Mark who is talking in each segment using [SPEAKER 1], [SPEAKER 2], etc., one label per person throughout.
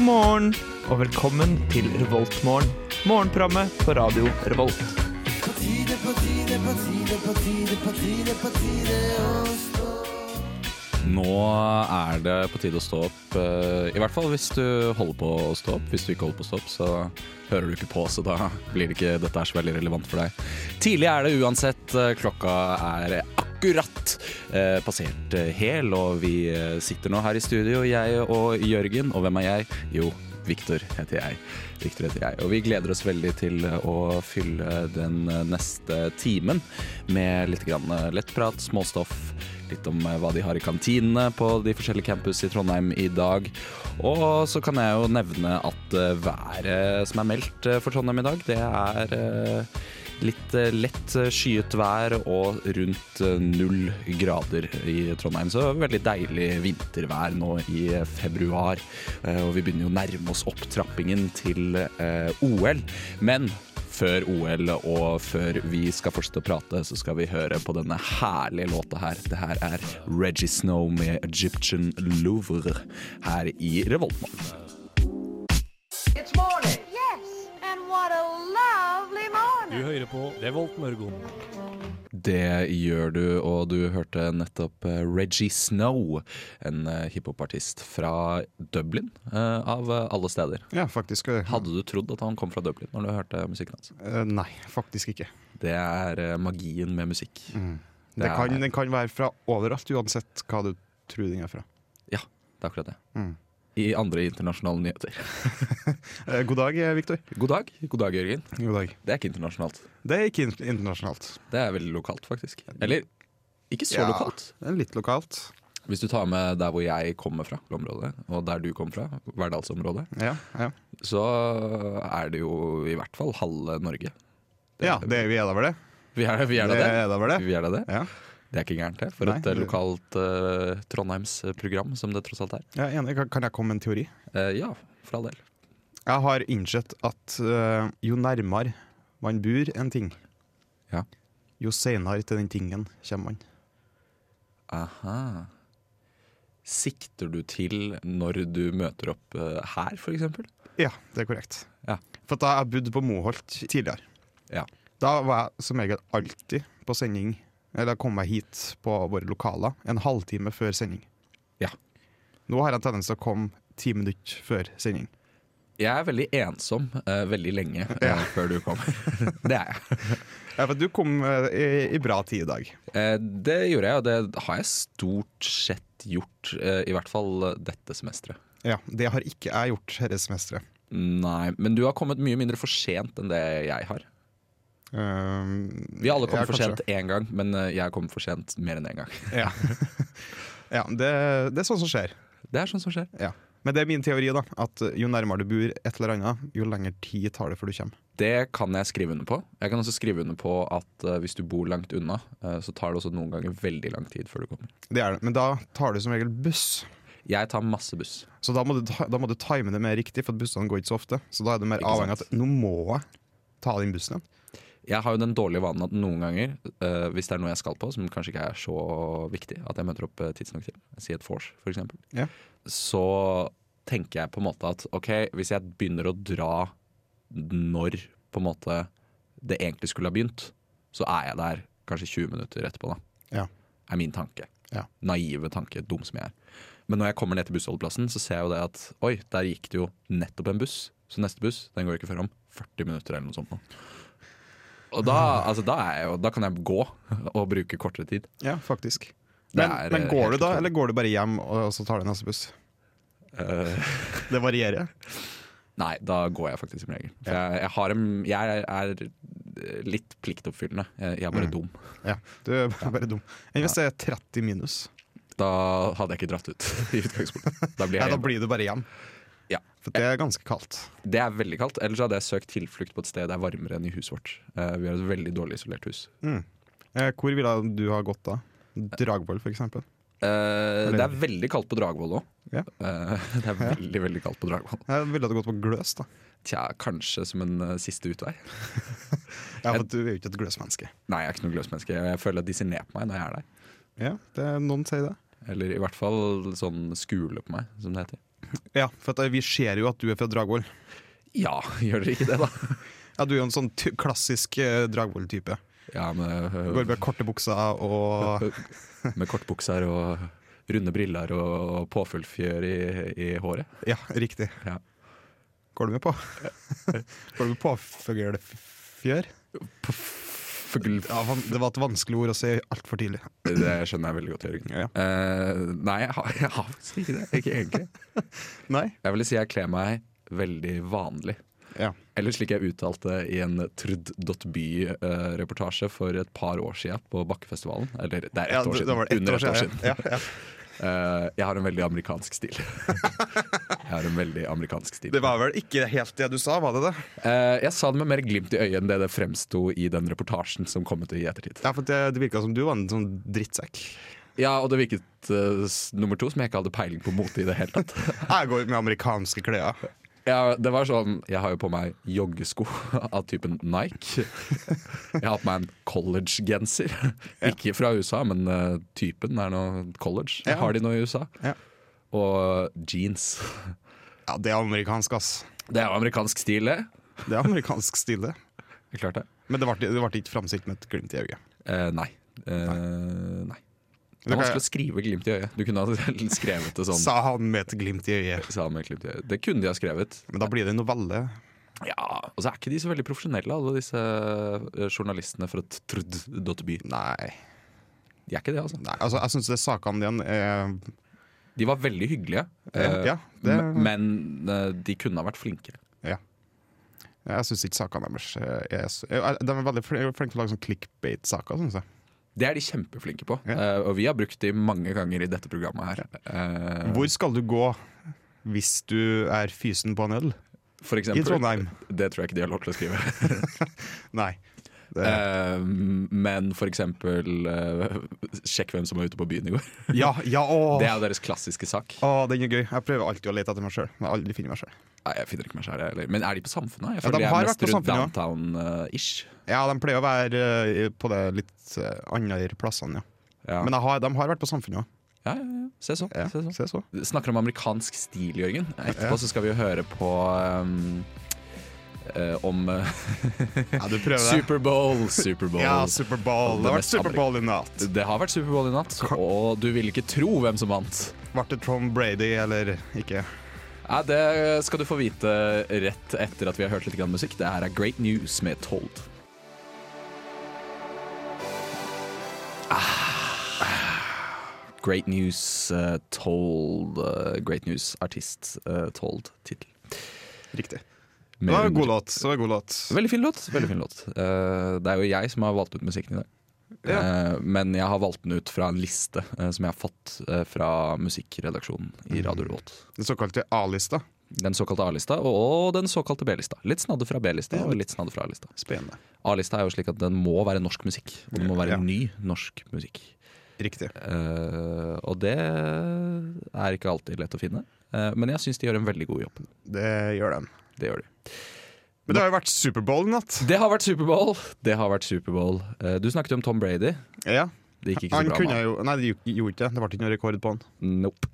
[SPEAKER 1] morgen og velkommen til Revoltmorgen. Morgenprogrammet på radio Revolt.
[SPEAKER 2] Nå er det på tide å stå opp. eh, I hvert fall hvis du holder på å stå opp. Hvis du ikke holder på å stå opp, så hører du ikke på, så da blir det ikke dette er så veldig relevant for deg. Tidlig er det uansett. eh, Klokka er akkurat eh, passert eh, hel, og vi eh, sitter nå her i studio, jeg og Jørgen. Og hvem er jeg? Jo, Victor heter jeg. Victor heter jeg. Og vi gleder oss veldig til eh, å fylle den eh, neste timen med litt grann lettprat, småstoff, litt om eh, hva de har i kantinene på de forskjellige campus i Trondheim i dag. Og så kan jeg jo nevne at eh, været som er meldt eh, for Trondheim i dag, det er eh, Litt eh, lett eh, skyet vær og rundt eh, null grader i Trondheim. Så veldig deilig vintervær nå i eh, februar. Eh, Og vi begynner jo å nærme oss opptrappingen til eh, OL. Men før OL og før vi skal fortsette å prate, så skal vi høre på denne herlige låta her. Det her er Reggie Snow med Egyptian Louvre her i Revoltmann.
[SPEAKER 3] It's morning. Yes, and what a lovely morning.
[SPEAKER 4] Du hører på Revolt Mørgon.
[SPEAKER 2] Det gjør du, og du hørte nettopp eh, Reggie Snow, en eh, hiphopartist fra Dublin, eh, av eh, alle steder.
[SPEAKER 5] Ja, faktisk. eh,
[SPEAKER 2] Hadde du trodd at han kom fra Dublin når du hørte musikken hans?
[SPEAKER 5] eh, Nei, faktisk ikke.
[SPEAKER 2] Det er eh, magien med musikk.
[SPEAKER 5] Mm.
[SPEAKER 2] Det
[SPEAKER 5] Det kan,
[SPEAKER 2] er-
[SPEAKER 5] den kan være fra overalt, uansett hva du tror den er fra.
[SPEAKER 2] Ja, det er akkurat det.
[SPEAKER 5] Mm.
[SPEAKER 2] I andre internasjonale nyheter.
[SPEAKER 5] Eh, God dag, eh, Victor.
[SPEAKER 2] God dag, god dag, Jørgen.
[SPEAKER 5] God dag.
[SPEAKER 2] Det er ikke internasjonalt.
[SPEAKER 5] Det er ikke in- internasjonalt.
[SPEAKER 2] Det er veldig lokalt, faktisk. Eller ikke så
[SPEAKER 5] Ja.
[SPEAKER 2] lokalt.
[SPEAKER 5] Det er litt lokalt.
[SPEAKER 2] Hvis du tar med der hvor jeg kommer fra, området, og der du kommer fra, Verdalsområdet,
[SPEAKER 5] Ja, ja.
[SPEAKER 2] så er det jo i hvert fall halve Norge.
[SPEAKER 5] ja det, vi er da vel det?
[SPEAKER 2] Vi er, vi er da
[SPEAKER 5] Det
[SPEAKER 2] det.
[SPEAKER 5] er da vel det?
[SPEAKER 2] Vi er da det.
[SPEAKER 5] Ja,
[SPEAKER 2] Det er ikke gærent, det. For
[SPEAKER 5] Nei,
[SPEAKER 2] et eh,
[SPEAKER 5] det-
[SPEAKER 2] lokalt eh, Trondheims-program, som det tross alt er.
[SPEAKER 5] jeg er enig. Kan- Kan jeg komme med en teori?
[SPEAKER 2] Eh, ja, for all del.
[SPEAKER 5] Jeg har innsett at eh, jo nærmere man bor en ting,
[SPEAKER 2] Ja.
[SPEAKER 5] jo seinere til den tingen kommer man.
[SPEAKER 2] Aha. Sikter du til når du møter opp eh, her, f.eks.?
[SPEAKER 5] Ja, det er korrekt.
[SPEAKER 2] Ja.
[SPEAKER 5] For at da jeg bodde på Moholt tidligere,
[SPEAKER 2] Ja.
[SPEAKER 5] da var jeg som regel alltid på sending, eller kom meg hit på våre lokaler, en halvtime før sending.
[SPEAKER 2] Ja.
[SPEAKER 5] Nå har jeg en tendens til å komme ti minutter før sending.
[SPEAKER 2] Jeg er veldig ensom eh, veldig lenge eh, før du kommer. det er jeg.
[SPEAKER 5] Ja, for du kom eh, i, i bra tid i dag.
[SPEAKER 2] Eh, det gjorde jeg, og det har jeg stort sett gjort. eh, I hvert fall dette semesteret.
[SPEAKER 5] Ja, det har ikke jeg gjort dette semesteret.
[SPEAKER 2] Nei, men du har kommet mye mindre for sent enn det jeg har.
[SPEAKER 5] Um,
[SPEAKER 2] Vi har alle kommet
[SPEAKER 5] ja,
[SPEAKER 2] for
[SPEAKER 5] kanskje.
[SPEAKER 2] sent én gang, men eh, jeg har kommet for sent mer enn én gang.
[SPEAKER 5] Ja, ja det, det er sånn som skjer.
[SPEAKER 2] Det er sånn som skjer.
[SPEAKER 5] Ja. Men det er min teori, da. At jo nærmere du bor et eller annet, jo lengre tid tar det før du kommer.
[SPEAKER 2] Det kan jeg skrive under på. Jeg kan også skrive under på at eh, hvis du bor langt unna, eh, så tar det også noen ganger veldig lang tid før du kommer.
[SPEAKER 5] Det er det. Men da tar du som regel buss.
[SPEAKER 2] Jeg tar masse buss.
[SPEAKER 5] Så da må, du, ta- da må du time det mer riktig, for at bussene går ikke så ofte. Så da er du mer
[SPEAKER 2] Ikke sant.
[SPEAKER 5] avhengig av at nå må jeg ta den bussen igjen.
[SPEAKER 2] Jeg har jo den dårlige vanen at noen ganger, eh, hvis det er noe jeg skal på, som kanskje ikke er så viktig, at jeg møter opp eh, tidsnok til, si et vors for eksempel,
[SPEAKER 5] Ja.
[SPEAKER 2] så tenker jeg på en måte at ok, hvis jeg begynner å dra når på en måte det egentlig skulle ha begynt, så er jeg der kanskje 20 minutter etterpå da.
[SPEAKER 5] Ja.
[SPEAKER 2] Er min tanke.
[SPEAKER 5] Ja.
[SPEAKER 2] Naive tanke, dum som jeg er. Men når jeg kommer ned til bussholdeplassen, så ser jeg jo det at oi, der gikk det jo nettopp en buss. Så neste buss, den går ikke før om 40 minutter eller noe sånt nå. Og da, altså, da, er jeg jo, da kan jeg gå og bruke kortere tid.
[SPEAKER 5] Ja, faktisk.
[SPEAKER 2] Det
[SPEAKER 5] Men,
[SPEAKER 2] er,
[SPEAKER 5] men
[SPEAKER 2] eh,
[SPEAKER 5] går
[SPEAKER 2] helt
[SPEAKER 5] du da,
[SPEAKER 2] utrolig.
[SPEAKER 5] eller går du bare hjem og, og så tar du neste buss?
[SPEAKER 2] Eh,
[SPEAKER 5] Det varierer.
[SPEAKER 2] nei, da går jeg faktisk som regel. For jeg, jeg, har en, jeg er litt pliktoppfyllende. Eh, Jeg, jeg er
[SPEAKER 5] Mm.
[SPEAKER 2] bare dum.
[SPEAKER 5] Ja, du er bare bare dum. Enn hvis det er 30 minus?
[SPEAKER 2] Da hadde jeg ikke dratt ut i utgangspunktet. Da blir
[SPEAKER 5] Ja,
[SPEAKER 2] jeg
[SPEAKER 5] da
[SPEAKER 2] hjemme.
[SPEAKER 5] blir du bare hjem.
[SPEAKER 2] Ja.
[SPEAKER 5] For det er ganske kaldt.
[SPEAKER 2] Det er veldig kaldt. Ellers hadde jeg søkt tilflukt på et sted det er varmere enn i huset vårt. Eh, vi har et veldig dårlig isolert hus.
[SPEAKER 5] Eh, Hvor ville du ha gått da? Dragvoll, for eksempel?
[SPEAKER 2] Eh, det er veldig kaldt på Dragvoll òg.
[SPEAKER 5] Ja.
[SPEAKER 2] det er veldig, veldig kaldt på Dragvoll.
[SPEAKER 5] Jeg ville du gått på Gløs, da.
[SPEAKER 2] Tja, kanskje som en eh, siste utvei.
[SPEAKER 5] Ja, for du er jo ikke et gløsmenneske.
[SPEAKER 2] Nei, jeg er ikke noe gløsmenneske. Jeg føler at de ser ned på meg når jeg er der.
[SPEAKER 5] Ja, det, noen sier det.
[SPEAKER 2] Eller i hvert fall sånn skule på meg, som det heter.
[SPEAKER 5] Ja, for at eh, vi ser jo at du er fra Dragvoll.
[SPEAKER 2] Ja, gjør dere ikke det, da?
[SPEAKER 5] Ja, du er jo en sånn ty klassisk eh, Dragvoll-type.
[SPEAKER 2] Ja, med,
[SPEAKER 5] Går med korte bukser og
[SPEAKER 2] øh, med kortbukser og runde briller og påfuglfjør i, i håret.
[SPEAKER 5] Ja, riktig.
[SPEAKER 2] Ja.
[SPEAKER 5] Går du med på? Går du med påfuglfjør?
[SPEAKER 2] Fugl...
[SPEAKER 5] Ja, van- det var et vanskelig ord å si altfor tidlig.
[SPEAKER 2] Det skjønner jeg veldig godt, Jørgen.
[SPEAKER 5] Ja.
[SPEAKER 2] Eh, nei, jeg har, jeg har faktisk ikke det. Ikke egentlig.
[SPEAKER 5] Nei?
[SPEAKER 2] Jeg vil si jeg kler meg veldig vanlig.
[SPEAKER 5] Ja.
[SPEAKER 2] Eller slik jeg uttalte i en Trud.by-reportasje for et par år siden på Bakkefestivalen. Eller det er ett
[SPEAKER 5] Ja,
[SPEAKER 2] år
[SPEAKER 5] det,
[SPEAKER 2] siden.
[SPEAKER 5] det var det. Ett
[SPEAKER 2] Under
[SPEAKER 5] år siden. Ja, ja.
[SPEAKER 2] Eh, jeg har en veldig amerikansk stil. jeg har en veldig amerikansk stil.
[SPEAKER 5] Det var vel ikke helt det du sa, var det det?
[SPEAKER 2] Eh, jeg sa det med mer glimt i øyet enn det det fremsto i den reportasjen som kom ut i ettertid.
[SPEAKER 5] Ja, for det, det virka som du var en sånn drittsekk.
[SPEAKER 2] Ja, og det virket eh, s- nummer to som jeg ikke hadde peiling på mote i det hele tatt.
[SPEAKER 5] Jeg går med amerikanske klær.
[SPEAKER 2] Ja, det var sånn, Jeg har jo på meg joggesko av typen Nike. Jeg har på meg en college-genser. Ikke fra USA, men eh, typen er nå college.
[SPEAKER 5] Ja.
[SPEAKER 2] Har de noe i USA?
[SPEAKER 5] Ja.
[SPEAKER 2] Og jeans.
[SPEAKER 5] Ja, det er amerikansk, ass.
[SPEAKER 2] Det er jo amerikansk stil, det.
[SPEAKER 5] Det er amerikansk stil, det.
[SPEAKER 2] Det er Klart det.
[SPEAKER 5] Men det ble, det ble ikke framstilt med et glimt i øyet.
[SPEAKER 2] Eh, nei. Eh, nei. Det
[SPEAKER 5] Det
[SPEAKER 2] er
[SPEAKER 5] kan
[SPEAKER 2] vanskelig å skrive glimt i øyet. Du kunne ha skrevet det sånn.
[SPEAKER 5] Sa han med et glimt i øyet.
[SPEAKER 2] Sa med glimt i øyet. Det kunne de ha skrevet.
[SPEAKER 5] Men da blir det en novelle.
[SPEAKER 2] Ja, Og så er ikke de så veldig profesjonelle, alle disse eh, journalistene fra trud.by.
[SPEAKER 5] Nei.
[SPEAKER 2] De er ikke det, altså.
[SPEAKER 5] Nei altså, jeg syns sakene dine er
[SPEAKER 2] De var veldig hyggelige,
[SPEAKER 5] Ja,
[SPEAKER 2] eh,
[SPEAKER 5] eh, ja, det-
[SPEAKER 2] m- men eh, de kunne ha vært flinkere.
[SPEAKER 5] Jeg syns ikke sakene deres eh, er så eh, De er veldig fl- flinke til å lage sånn clickbait-saker, syns jeg.
[SPEAKER 2] Det er de kjempeflinke på,
[SPEAKER 5] Ja.
[SPEAKER 2] eh, og vi har brukt de mange ganger i dette programmet her. Eh,
[SPEAKER 5] Hvor skal du gå hvis du er fysen på en øl?
[SPEAKER 2] For
[SPEAKER 5] I
[SPEAKER 2] eksempel,
[SPEAKER 5] Trondheim?
[SPEAKER 2] Det tror jeg ikke de har lov til å skrive.
[SPEAKER 5] Nei. Det,
[SPEAKER 2] Eh, men for eksempel eh, Sjekk hvem som var ute på byen i går.
[SPEAKER 5] ja, ja, å!
[SPEAKER 2] Det er jo deres klassiske sak.
[SPEAKER 5] Å, den er gøy. Jeg prøver alltid å lete etter meg sjøl. Aldri finner meg sjøl.
[SPEAKER 2] Nei, jeg finner ikke meg selv, jeg heller. Men er de på Samfunnet? Jeg
[SPEAKER 5] Ja,
[SPEAKER 2] føler
[SPEAKER 5] de
[SPEAKER 2] jeg
[SPEAKER 5] har
[SPEAKER 2] er mest
[SPEAKER 5] vært på
[SPEAKER 2] rundt eh,
[SPEAKER 5] Samfunnet,
[SPEAKER 2] downtown-ish.
[SPEAKER 5] Ja, de pleier å være eh, på de litt eh, andre plassene, ja.
[SPEAKER 2] Ja.
[SPEAKER 5] Men jeg har, de har vært på Samfunnet òg.
[SPEAKER 2] ja, ja, ja. Se sånn.
[SPEAKER 5] Ja,
[SPEAKER 2] Se sånn.
[SPEAKER 5] se så.
[SPEAKER 2] Snakker om amerikansk stil, Jørgen. Etterpå så skal vi jo høre på um, eh, om eh,
[SPEAKER 5] Ja, du prøver det.
[SPEAKER 2] Superbowl. Superbowl.
[SPEAKER 5] Ja, Superbowl. Det har vært Superbowl i natt.
[SPEAKER 2] det har vært Superbowl i natt, og du vil ikke tro hvem som vant.
[SPEAKER 5] Ble det Tom Brady eller ikke?
[SPEAKER 2] Nei, det skal du få vite rett etter at vi har hørt litt grann musikk. Det her er Great News med Told. Ah. Great News eh, Told. eh, Great News artist eh, Told tittel.
[SPEAKER 5] Riktig. Det var en god låt. Det var en god låt.
[SPEAKER 2] Veldig fin låt. Veldig fin låt. Eh, det er jo jeg som har valgt ut musikken i dag. Eh, men jeg har valgt den ut fra en liste eh, som jeg har fått eh, fra musikkredaksjonen
[SPEAKER 5] Mm.
[SPEAKER 2] i Radio Revolt.
[SPEAKER 5] Den såkalte A-lista.
[SPEAKER 2] Den såkalte A-lista og den såkalte B-lista. Litt snadde fra B-lista og litt snadde fra A-lista.
[SPEAKER 5] Spennende.
[SPEAKER 2] A-lista er jo slik at den må være norsk musikk. Og den må være
[SPEAKER 5] Ja.
[SPEAKER 2] ny norsk musikk.
[SPEAKER 5] Riktig.
[SPEAKER 2] Eh, og det er ikke alltid lett å finne. Eh, men jeg syns de gjør en veldig god jobb.
[SPEAKER 5] Det gjør den.
[SPEAKER 2] Det gjør de.
[SPEAKER 5] Men det har jo vært Superbowl i natt.
[SPEAKER 2] Det har vært Superbowl! Det har vært Superbowl. Eh, du snakket om Tom Brady.
[SPEAKER 5] Ja.
[SPEAKER 2] Det gikk ikke
[SPEAKER 5] Han
[SPEAKER 2] så bra. med
[SPEAKER 5] kunne jo Nei, det gikk- gjorde ikke det. Det ble ikke noen rekord på han.
[SPEAKER 2] Nope.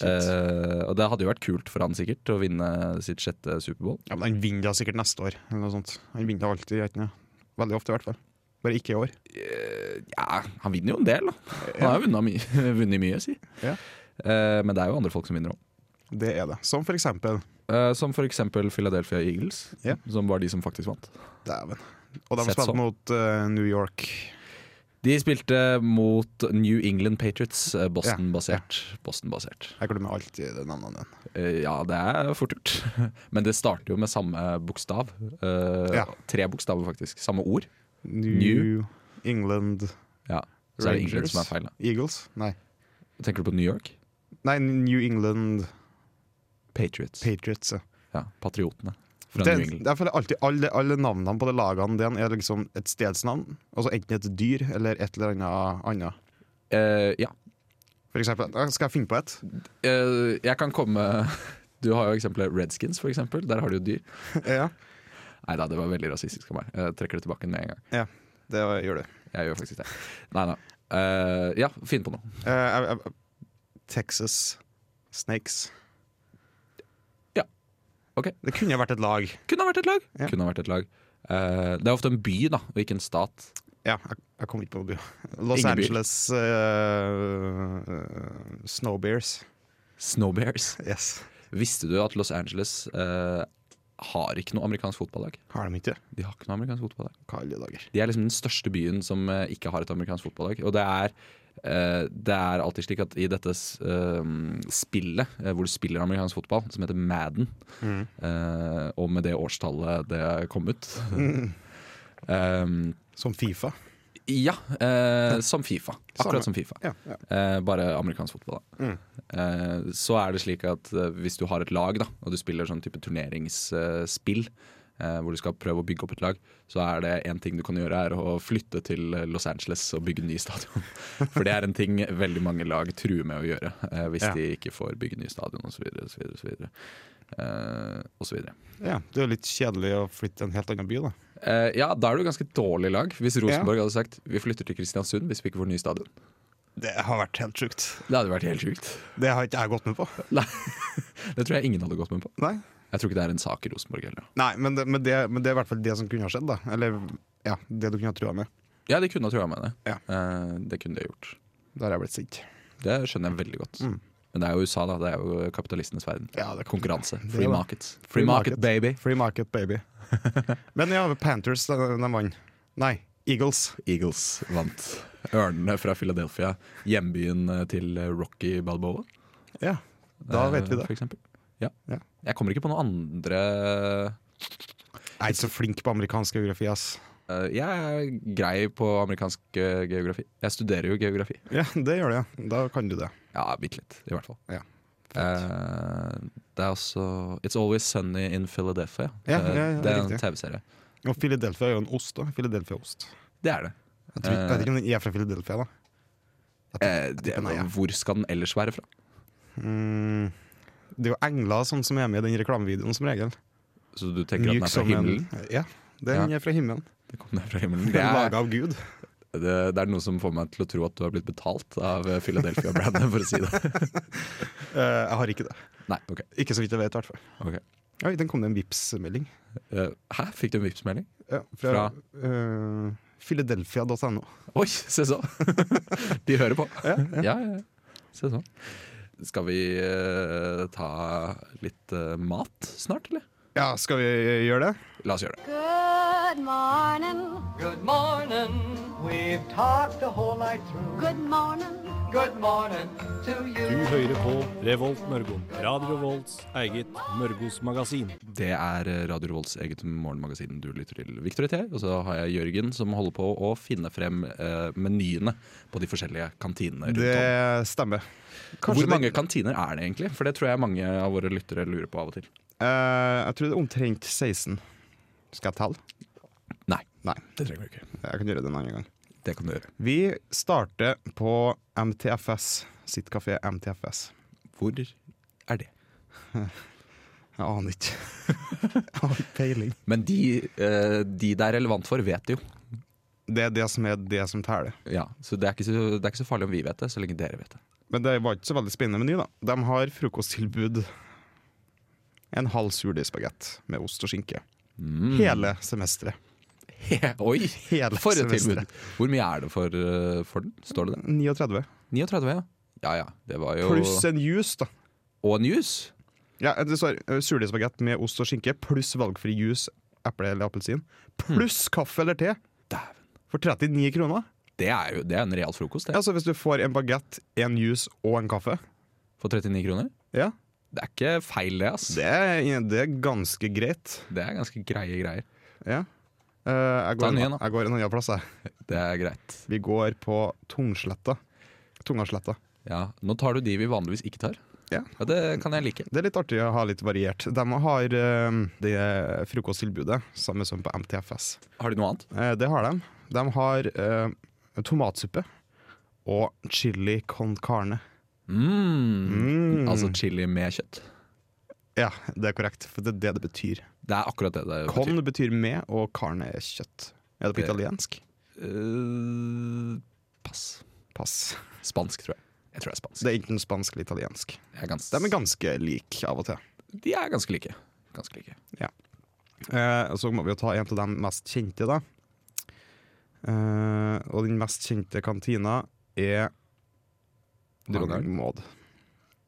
[SPEAKER 2] Eh, og det hadde jo vært kult for han sikkert å vinne sitt sjette Superbowl.
[SPEAKER 5] Ja, men Han vinner da sikkert neste år. Eller noe sånt. Han vinner da alltid. gjør han ikke det? Veldig ofte, i hvert fall. Bare ikke i år.
[SPEAKER 2] Eh, Ja, han vinner jo en del, da. Han har jo vunnet, mye- vunnet mye, si.
[SPEAKER 5] Ja.
[SPEAKER 2] Eh, men det er jo andre folk som vinner òg.
[SPEAKER 5] Det er det. Som for eksempel
[SPEAKER 2] som f.eks. Philadelphia Eagles,
[SPEAKER 5] Ja.
[SPEAKER 2] som var de som faktisk vant.
[SPEAKER 5] Dæven. Og de
[SPEAKER 2] Sett
[SPEAKER 5] spilte
[SPEAKER 2] sånn.
[SPEAKER 5] mot eh, New York.
[SPEAKER 2] De spilte mot New England Patriots, eh, Boston-basert. Boston-basert.
[SPEAKER 5] Jeg glemmer alltid de navnene dine.
[SPEAKER 2] Eh, ja, det er fort gjort. Men det starter jo med samme bokstav. Eh,
[SPEAKER 5] Ja.
[SPEAKER 2] Tre bokstaver, faktisk. Samme ord.
[SPEAKER 5] New,
[SPEAKER 2] New-
[SPEAKER 5] England
[SPEAKER 2] Ja. Så er det England
[SPEAKER 5] Rangers.
[SPEAKER 2] som er feil. da.
[SPEAKER 5] Eagles? Nei.
[SPEAKER 2] Tenker du på New York?
[SPEAKER 5] Nei, New England
[SPEAKER 2] Patriots.
[SPEAKER 5] Patriots. ja.
[SPEAKER 2] ja, Patriotene fra
[SPEAKER 5] Det,
[SPEAKER 2] New England.
[SPEAKER 5] det er for alltid, alle, alle navnene på de lagene dine er liksom et stedsnavn. Altså enten et dyr eller et eller annet annet.
[SPEAKER 2] Eh, ja.
[SPEAKER 5] For eksempel, eh, skal jeg finne på et?
[SPEAKER 2] Eh, jeg kan komme Du har jo eksempelet Redskins, for eksempel. Der har du jo dyr.
[SPEAKER 5] ja,
[SPEAKER 2] Nei da, det var veldig rasistisk av meg. Jeg trekker det tilbake med en gang.
[SPEAKER 5] det gjør du.
[SPEAKER 2] Jeg gjør faktisk det. Nei da. Eh, ja, finn på noe.
[SPEAKER 5] Eh, jeg- jeg- Texas Snakes.
[SPEAKER 2] Ok.
[SPEAKER 5] Det kunne vært et lag.
[SPEAKER 2] Kunne ha vært et lag.
[SPEAKER 5] Ja.
[SPEAKER 2] Kunne ha vært et lag. Eh, det er ofte en by, da, og ikke en stat.
[SPEAKER 5] Ja, jeg, jeg kom ikke på noe by. Los
[SPEAKER 2] Ingen by.
[SPEAKER 5] Angeles eh, Snowbears.
[SPEAKER 2] Snowbears.
[SPEAKER 5] Yes.
[SPEAKER 2] Visste du at Los Angeles eh, har ikke noe amerikansk fotballag?
[SPEAKER 5] Har de ikke?
[SPEAKER 2] De har ikke noe amerikansk fotballag.
[SPEAKER 5] Hva i alle dager.
[SPEAKER 2] De er liksom den største byen som eh, ikke har et amerikansk fotballag. Og det er, eh, det er alltid slik at i dette s- eh, spillet eh, hvor du spiller amerikansk fotball, som heter Madden, eh, og med det årstallet det kom ut eh,
[SPEAKER 5] Som Fifa.
[SPEAKER 2] Ja, eh, som Fifa.
[SPEAKER 5] Samme.
[SPEAKER 2] Akkurat som Fifa.
[SPEAKER 5] Ja, ja.
[SPEAKER 2] Eh, bare amerikansk fotball, da. Eh, så er det slik at eh, hvis du har et lag, da, og du spiller sånn type turneringsspill, eh, hvor du skal prøve å bygge opp et lag, så er det én ting du kan gjøre, er å flytte til Los Angeles og bygge ny stadion. For det er en ting veldig mange lag truer med å gjøre eh, hvis
[SPEAKER 5] Ja.
[SPEAKER 2] de ikke får bygge ny stadion osv. osv.
[SPEAKER 5] ja. Det er jo litt kjedelig å flytte til en helt annen by, da.
[SPEAKER 2] Eh, ja, da er du ganske dårlig lag hvis Rosenborg hadde sagt vi flytter til Kristiansund hvis vi ikke får ny stadion.
[SPEAKER 5] Det har vært helt sjukt.
[SPEAKER 2] Det hadde vært helt sjukt.
[SPEAKER 5] Det har ikke jeg gått med på.
[SPEAKER 2] Nei, Det tror jeg ingen hadde gått med på.
[SPEAKER 5] Nei,
[SPEAKER 2] Jeg tror ikke det er en sak i Rosenborg heller.
[SPEAKER 5] Nei men, det, men, det, men det er i hvert fall det som kunne ha skjedd, da. Eller ja, det du kunne ha trua med.
[SPEAKER 2] Ja, de kunne ha trua med det.
[SPEAKER 5] Ja.
[SPEAKER 2] Eh, det kunne de ha gjort.
[SPEAKER 5] Da har jeg blitt sint.
[SPEAKER 2] Det skjønner jeg veldig godt. Men det er jo USA, da. Det er jo kapitalistenes verden.
[SPEAKER 5] Mm. Ja, det er
[SPEAKER 2] Konkurranse.
[SPEAKER 5] det.
[SPEAKER 2] Free market. Free market, baby.
[SPEAKER 5] Free market, baby. men ja, Panthers, de, de vant. Nei, Eagles.
[SPEAKER 2] Eagles vant. Ørnene fra Philadelphia. Hjembyen eh, til Rocky Balboa.
[SPEAKER 5] Ja, da
[SPEAKER 2] eh,
[SPEAKER 5] vet vi det.
[SPEAKER 2] For eksempel. ja.
[SPEAKER 5] Ja.
[SPEAKER 2] Jeg kommer ikke på noen andre
[SPEAKER 5] Jeg er ikke så flink på amerikansk geografi, ass.
[SPEAKER 2] Eh, Jeg er grei på amerikansk eh, geografi. Jeg studerer jo geografi.
[SPEAKER 5] Ja, det gjør det. ja. Da kan du det.
[SPEAKER 2] Ja, bitte litt, i hvert fall.
[SPEAKER 5] Ja.
[SPEAKER 2] Eh, det er også It's Always Sunny in Philadelphia.
[SPEAKER 5] Ja,
[SPEAKER 2] Eh,
[SPEAKER 5] ja, ja,
[SPEAKER 2] det er en
[SPEAKER 5] riktig.
[SPEAKER 2] TV-serie.
[SPEAKER 5] Og Philadelphia er jo en ost, da. Philadelphia-ost.
[SPEAKER 2] Det er det.
[SPEAKER 5] Jeg, tror- jeg vet ikke om den er fra Philadelphia, da.
[SPEAKER 2] Eh, det
[SPEAKER 5] tipper nei, ja.
[SPEAKER 2] Hvor skal den ellers være fra?
[SPEAKER 5] Mm. Det er jo engler sånn som er med i den reklamevideoen, som regel.
[SPEAKER 2] Så du tenker at den er fra
[SPEAKER 5] som en-
[SPEAKER 2] himmelen?
[SPEAKER 5] Ja, den er fra himmelen.
[SPEAKER 2] Det kom den fra himmelen.
[SPEAKER 5] Den
[SPEAKER 2] Det
[SPEAKER 5] er laget
[SPEAKER 2] er,
[SPEAKER 5] av Gud.
[SPEAKER 2] det, det er noe som får meg til å tro at du har blitt betalt av eh, Philadelphia-brandet, for å si det.
[SPEAKER 5] Eh, jeg har ikke det.
[SPEAKER 2] Nei, ok.
[SPEAKER 5] Ikke så vidt jeg vet, i hvert fall.
[SPEAKER 2] ok.
[SPEAKER 5] Oi, den kom det en Vipps-melding.
[SPEAKER 2] Eh, hæ, fikk du en Vipps-melding?
[SPEAKER 5] Ja, fra eh, Philadelphia.no.
[SPEAKER 2] Oi, se så! De hører på. Ja, ja, ja. Se sånn. Skal vi eh, ta litt eh, mat snart, eller?
[SPEAKER 5] Ja, skal vi gjøre det?
[SPEAKER 2] La oss gjøre det.
[SPEAKER 3] Good morning.
[SPEAKER 6] Good morning. We've talked the whole night through.
[SPEAKER 3] Good morning.
[SPEAKER 6] Good morning to
[SPEAKER 4] Du
[SPEAKER 6] you.
[SPEAKER 4] hører på Revolt Mørgo. Radio Revolts eget Mørgos magasin.
[SPEAKER 2] Det er eh, Radio Revolts eget morgenmagasin du lytter til. Victor T. Og så har jeg Jørgen som holder på å finne frem eh, menyene på de forskjellige kantinene. rundt om.
[SPEAKER 5] Det stemmer.
[SPEAKER 2] Hvor
[SPEAKER 5] det-
[SPEAKER 2] mange kantiner er det egentlig? For det tror jeg mange av våre lyttere lurer på av og til.
[SPEAKER 5] Eh, jeg tror det er omtrent 16. Skal jeg telle?
[SPEAKER 2] Nei,
[SPEAKER 5] Nei,
[SPEAKER 2] det trenger du ikke.
[SPEAKER 5] jeg kan gjøre det en annen gang.
[SPEAKER 2] Det kan du gjøre.
[SPEAKER 5] Vi starter på MTFS sitt kafé MTFS.
[SPEAKER 2] Hvor er det?
[SPEAKER 5] Jeg aner ikke. Jeg har ikke peiling.
[SPEAKER 2] Men de, eh, de det er relevant for, vet det jo.
[SPEAKER 5] Det er det som er det som teller.
[SPEAKER 2] Ja, så det, er ikke så det er ikke så farlig om vi vet det, så lenge dere vet det.
[SPEAKER 5] Men det var ikke så veldig spennende meny, da. De har frokosttilbud. En halv surdeigsbagett med ost og skinke. Hele semesteret.
[SPEAKER 2] Mm. Oi!
[SPEAKER 5] Hele
[SPEAKER 2] For et tilbud!
[SPEAKER 5] semesteret.
[SPEAKER 2] Hvor mye er det for, eh, for den? Står det det?
[SPEAKER 5] 39.
[SPEAKER 2] 39, ja. Ja ja. Det var jo
[SPEAKER 5] Pluss en juice, da.
[SPEAKER 2] Og en juice.
[SPEAKER 5] Ja, det står eh, surdeigsbagett med ost og skinke pluss valgfri juice, eple eller appelsin. Pluss kaffe eller te
[SPEAKER 2] Mm. Dæven.
[SPEAKER 5] for 39 kroner.
[SPEAKER 2] Det er jo det er en real frokost, det.
[SPEAKER 5] Ja, så hvis du får en bagett, en juice og en kaffe
[SPEAKER 2] For 39 kroner.
[SPEAKER 5] Ja,
[SPEAKER 2] Det er ikke feil, det, ass.
[SPEAKER 5] det er, det er ganske greit.
[SPEAKER 2] Det er ganske greie greier.
[SPEAKER 5] Ja. Eh,
[SPEAKER 2] Ta
[SPEAKER 5] jeg, går
[SPEAKER 2] en ny
[SPEAKER 5] en,
[SPEAKER 2] en, da.
[SPEAKER 5] jeg går en annen plass, jeg.
[SPEAKER 2] Det er greit.
[SPEAKER 5] Vi går på Tungsletta. Tungasletta.
[SPEAKER 2] Ja. Nå tar du de vi vanligvis ikke tar.
[SPEAKER 5] Ja.
[SPEAKER 2] det kan jeg like.
[SPEAKER 5] Det er litt artig å ha litt variert. De har eh, det frokosttilbudet, samme som på MTFS.
[SPEAKER 2] Har de noe annet?
[SPEAKER 5] Eh, det har de. De har eh, tomatsuppe og chili con carne.
[SPEAKER 2] Mm.
[SPEAKER 5] Mm.
[SPEAKER 2] Altså chili med kjøtt.
[SPEAKER 5] Ja, det er korrekt, for det er det det betyr.
[SPEAKER 2] Det er akkurat det det
[SPEAKER 5] Con betyr med, og carne er kjøtt. Er det
[SPEAKER 2] Det-
[SPEAKER 5] på italiensk?
[SPEAKER 2] Eh, pass.
[SPEAKER 5] Pass.
[SPEAKER 2] Spansk, tror jeg. Jeg tror det er spansk.
[SPEAKER 5] Det er enten spansk eller italiensk.
[SPEAKER 2] Jeg er gans
[SPEAKER 5] De er ganske like av og til.
[SPEAKER 2] de er ganske like. ganske like.
[SPEAKER 5] Eh, så må vi jo ta en av de mest kjente, da. Eh, og den mest kjente kantina er Dronning Maud.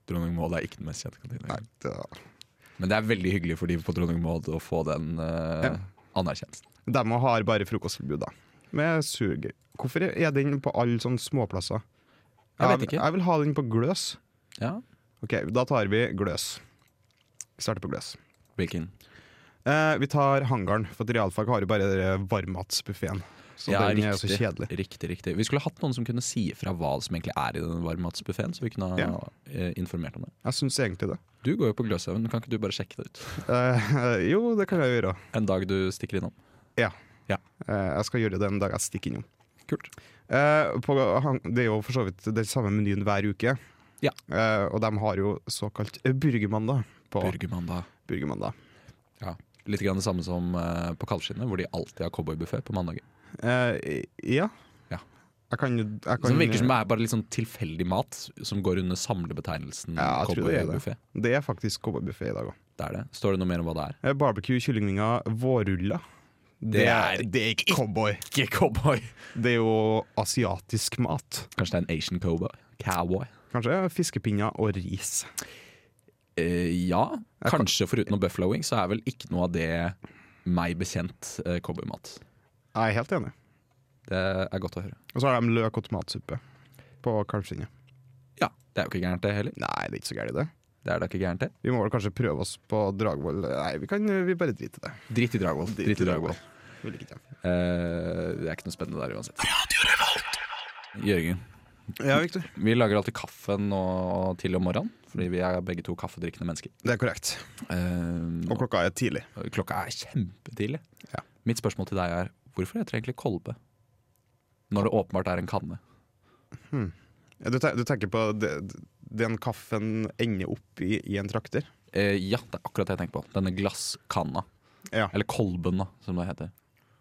[SPEAKER 2] Dronning Maud er ikke den mest kjente kantina.
[SPEAKER 5] Nei, det,
[SPEAKER 2] Men det er veldig hyggelig for de på Dronning Maud å få den eh, anerkjennelsen.
[SPEAKER 5] de har bare frokosttilbud, da. Med sugerør. Hvorfor er den på alle sånne småplasser?
[SPEAKER 2] Jeg vet
[SPEAKER 5] vil-
[SPEAKER 2] ikke.
[SPEAKER 5] jeg vil ha den på Gløs.
[SPEAKER 2] Ja.
[SPEAKER 5] Ok, da tar vi Gløs. Vi starter på Gløs.
[SPEAKER 2] Hvilken?
[SPEAKER 5] Eh, vi tar hangaren, for at realfag har jo bare varmmatsbuffeen. Så
[SPEAKER 2] Ja,
[SPEAKER 5] den er jo så
[SPEAKER 2] riktig.
[SPEAKER 5] kjedelig.
[SPEAKER 2] Riktig, riktig. Vi skulle hatt noen som kunne si fra hva som egentlig er i den varmmatsbuffeen, så vi kunne ha
[SPEAKER 5] Ja.
[SPEAKER 2] eh, informert om det.
[SPEAKER 5] Jeg syns egentlig det.
[SPEAKER 2] Du går jo på Gløshaugen, kan ikke du bare sjekke det ut?
[SPEAKER 5] Eh, jo, det kan jeg gjøre.
[SPEAKER 2] En dag du stikker innom.
[SPEAKER 5] Ja.
[SPEAKER 2] Ja.
[SPEAKER 5] Eh, jeg skal gjøre det en dag jeg stikker innom.
[SPEAKER 2] Kult.
[SPEAKER 5] Eh, på, hang- det er jo for så vidt den samme menyen hver uke.
[SPEAKER 2] Ja.
[SPEAKER 5] Eh, og de har jo såkalt burgermandag på
[SPEAKER 2] Burgermandag.
[SPEAKER 5] burgermandag.
[SPEAKER 2] Ja. Litt grann det samme som eh, på Kaldskinnet, hvor de alltid har cowboybuffé på mandager.
[SPEAKER 5] Eh, ja.
[SPEAKER 2] Ja.
[SPEAKER 5] Jeg kan, jeg kan
[SPEAKER 2] Som virker som det er bare litt sånn tilfeldig mat som går under samlebetegnelsen
[SPEAKER 5] Ja, jeg tror det er det.
[SPEAKER 2] cowboybuffé.
[SPEAKER 5] Det er faktisk cowboybuffé i dag òg.
[SPEAKER 2] Det er det. Står det noe mer om hva det er?
[SPEAKER 5] Eh, Barbecue, kyllingvinger, vårruller. Det
[SPEAKER 2] er
[SPEAKER 5] det er ikke cowboy.
[SPEAKER 2] Ikke cowboy!
[SPEAKER 5] Det er jo asiatisk mat.
[SPEAKER 2] Kanskje det er en Asian cowboy? Cowboy.
[SPEAKER 5] Kanskje fiskepinner og ris.
[SPEAKER 2] Eh, ja,
[SPEAKER 5] Jeg kan-
[SPEAKER 2] kanskje foruten noe buffalo wings, så er vel ikke noe av det meg bekjent eh, cowboymat.
[SPEAKER 5] Jeg er helt enig.
[SPEAKER 2] Det er godt å høre.
[SPEAKER 5] Og så har de løk og tomatsuppe på kalvskinnet.
[SPEAKER 2] Ja, det er jo ikke gærent det heller.
[SPEAKER 5] Nei, det er ikke så gærent, det.
[SPEAKER 2] Det er da ikke gærent det.
[SPEAKER 5] Vi må vel kanskje prøve oss på Dragvoll. Nei, vi kan vi bare drite i det.
[SPEAKER 2] Dritt i Dragvoll. Dritt i Dragvoll.
[SPEAKER 5] Vi liker det.
[SPEAKER 2] Eh, det er ikke noe spennende der uansett. Jørgen,
[SPEAKER 5] Ja, Victor.
[SPEAKER 2] vi lager alltid kaffe nå til om morgenen, fordi vi er begge to kaffedrikkende mennesker.
[SPEAKER 5] Det er korrekt.
[SPEAKER 2] Eh,
[SPEAKER 5] Og klokka er tidlig.
[SPEAKER 2] og klokka er kjempetidlig.
[SPEAKER 5] Ja.
[SPEAKER 2] Mitt spørsmål til deg er hvorfor heter det egentlig kolbe? Når det åpenbart er en kanne.
[SPEAKER 5] Ja, Du, te du tenker på de den kaffen ender opp i, i en trakter?
[SPEAKER 2] Eh, ja, det er akkurat det jeg tenker på. Denne glasskanna.
[SPEAKER 5] Ja.
[SPEAKER 2] Eller kolben, da, som det heter.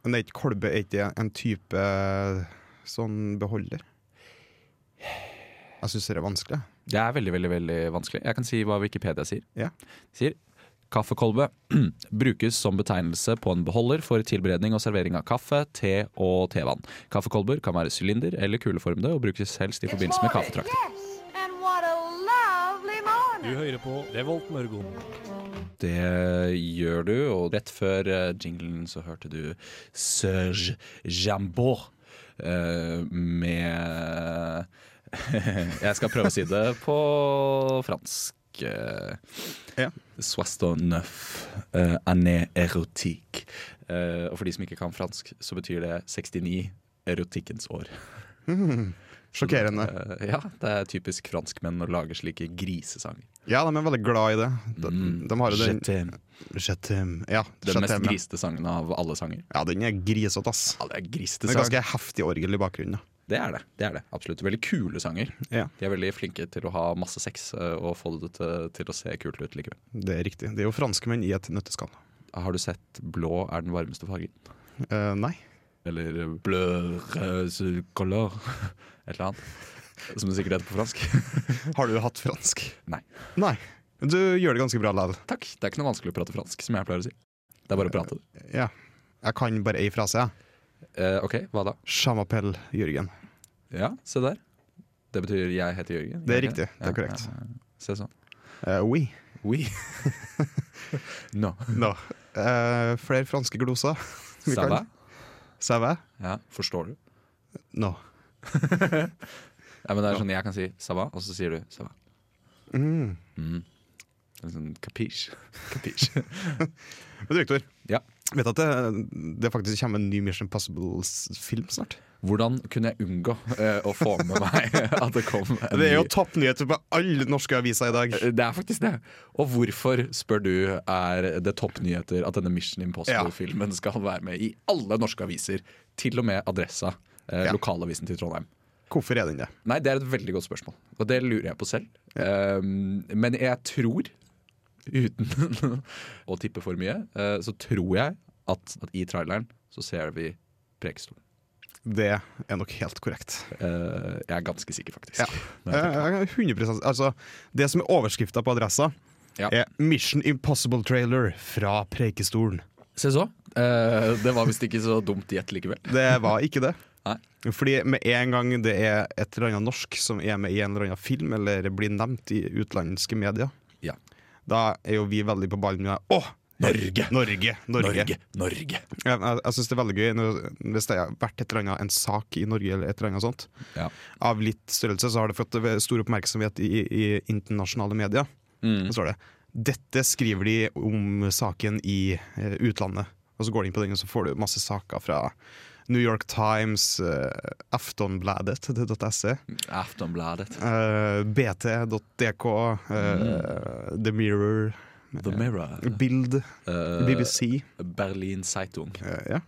[SPEAKER 5] Men det er ikke kolbe, er ikke det en type sånn beholder? Jeg syns det er vanskelig.
[SPEAKER 2] Det er veldig, veldig, veldig vanskelig. Jeg kan si hva Wikipedia sier.
[SPEAKER 5] Ja.
[SPEAKER 2] Sier kaffekolbe brukes som betegnelse på en beholder for tilberedning og servering av kaffe, te og tevann. Kaffekolber kan være sylinder eller kuleformede og brukes helst i forbindelse med kaffetrakter.
[SPEAKER 3] Yes, and what a lovely
[SPEAKER 4] Du
[SPEAKER 3] morning.
[SPEAKER 4] hører på Revolt Mørgom.
[SPEAKER 2] Det gjør du, og rett før eh, jinglen så hørte du Serge Jambeau eh, med Jeg skal prøve å si det på fransk. eh,
[SPEAKER 5] Ja.
[SPEAKER 2] Soistoneuf uh, année erotique. Eh, og for de som ikke kan fransk, så betyr det 69 erotikkens år.
[SPEAKER 5] Sjokkerende.
[SPEAKER 2] Eh, ja, det er typisk franskmenn å lage slike grisesanger.
[SPEAKER 5] Ja, de er veldig glad i det. De, Mm, de har jo den
[SPEAKER 2] Je t'aime.
[SPEAKER 5] Je t'aime. Ja,
[SPEAKER 2] Mm. Den
[SPEAKER 5] je
[SPEAKER 2] mest
[SPEAKER 5] t'aime.
[SPEAKER 2] grisete sangen av alle sanger.
[SPEAKER 5] Ja, den er grisete, ass.
[SPEAKER 2] Ja, det er
[SPEAKER 5] Det
[SPEAKER 2] grisete
[SPEAKER 5] er
[SPEAKER 2] sang.
[SPEAKER 5] ganske heftig orgel i bakgrunnen. da.
[SPEAKER 2] Det er det. det er det, Absolutt. Veldig kule sanger.
[SPEAKER 5] Ja,
[SPEAKER 2] De er veldig flinke til å ha masse sex eh, og få det til, til å se kult ut likevel.
[SPEAKER 5] Det er riktig. Det er jo franskmenn i et nøtteskall.
[SPEAKER 2] Har du sett 'Blå er den varmeste fargen'?
[SPEAKER 5] Eh, nei.
[SPEAKER 2] Eller 'Bleu rose color'? Et eller annet. Som det sikkert heter på fransk.
[SPEAKER 5] Har du hatt fransk?
[SPEAKER 2] Nei.
[SPEAKER 5] Nei. Du gjør det ganske bra, Lal.
[SPEAKER 2] Takk. Det er ikke noe vanskelig å prate fransk, som jeg pleier å si. Det er bare å prate det.
[SPEAKER 5] Ja. Jeg kan bare ei frase, jeg.
[SPEAKER 2] Eh, ok, hva da?
[SPEAKER 5] Chamapel Jørgen.
[SPEAKER 2] Ja, se der. Det betyr 'jeg heter Jørgen'.
[SPEAKER 5] Det er
[SPEAKER 2] Gjør
[SPEAKER 5] riktig. Det er korrekt.
[SPEAKER 2] Ja, ja. Se sånn.
[SPEAKER 5] Eh, oui.
[SPEAKER 2] Oui. no.
[SPEAKER 5] No. Eh, flere franske gloser. Vi
[SPEAKER 2] Ça
[SPEAKER 5] kan-
[SPEAKER 2] va?
[SPEAKER 5] Ça va?
[SPEAKER 2] Ja, forstår du?
[SPEAKER 5] No.
[SPEAKER 2] Ja, men det er sånn jeg kan si 'ça va', og så sier du 'ça va'. Mm. Det er Sånn capiche. Capiche.
[SPEAKER 5] Men Viktor,
[SPEAKER 2] ja.
[SPEAKER 5] vet du at det, det faktisk kommer en ny Mission Possible-film snart?
[SPEAKER 2] Hvordan kunne jeg unngå eh, å få med meg at det kom en
[SPEAKER 5] Det er jo
[SPEAKER 2] ny- Eh,
[SPEAKER 5] toppnyheter på alle norske aviser i dag.
[SPEAKER 2] Det er faktisk det. Og hvorfor, spør du, er det toppnyheter at denne Mission Impossible-filmen skal være med i alle norske aviser? Til og med Adressa, eh,
[SPEAKER 5] Ja.
[SPEAKER 2] lokalavisen til Trondheim.
[SPEAKER 5] Hvorfor er den det?
[SPEAKER 2] Nei, det er et veldig godt spørsmål, og det lurer jeg på selv. Um, men jeg tror, uten å tippe for mye, eh, så tror jeg at, at i traileren så ser vi Preikestolen.
[SPEAKER 5] Det er nok helt korrekt.
[SPEAKER 2] Eh, jeg er ganske sikker, faktisk.
[SPEAKER 5] Ja.
[SPEAKER 2] Når jeg tenker-
[SPEAKER 5] Eh, 100 altså, Det som er overskrifta på adressa,
[SPEAKER 2] Ja.
[SPEAKER 5] er Mission Impossible-trailer fra Preikestolen.
[SPEAKER 2] Se så. Eh, det var visst ikke så dumt gjett likevel.
[SPEAKER 5] Det var ikke det.
[SPEAKER 2] Nei.
[SPEAKER 5] Fordi med en gang det er et eller annet norsk som er med i en eller annen film, eller blir nevnt i utenlandske medier,
[SPEAKER 2] Ja.
[SPEAKER 5] da er jo vi veldig på ballen med Å!
[SPEAKER 2] Norge!
[SPEAKER 5] Norge! Norge.
[SPEAKER 2] Norge! Norge!
[SPEAKER 5] Jeg, jeg, jeg syns det er veldig gøy når, hvis det har vært et eller annet, en sak i Norge eller et eller annet sånt,
[SPEAKER 2] Ja.
[SPEAKER 5] av litt størrelse, så har det fått stor oppmerksomhet i, i internasjonale medier.
[SPEAKER 2] Mm.
[SPEAKER 5] Så står det Dette skriver de om saken i eh, utlandet. Og så går de inn på den, og så får du masse saker fra New York Times, eh, Aftonbladet, .se,
[SPEAKER 2] Aftonbladet.
[SPEAKER 5] E, eh, BT.dk, eh, The Mirror,
[SPEAKER 2] The Mirror.
[SPEAKER 5] Bild,
[SPEAKER 2] Mm. Eh,
[SPEAKER 5] BBC.
[SPEAKER 2] Berlin Zeitung,
[SPEAKER 5] eh, ja.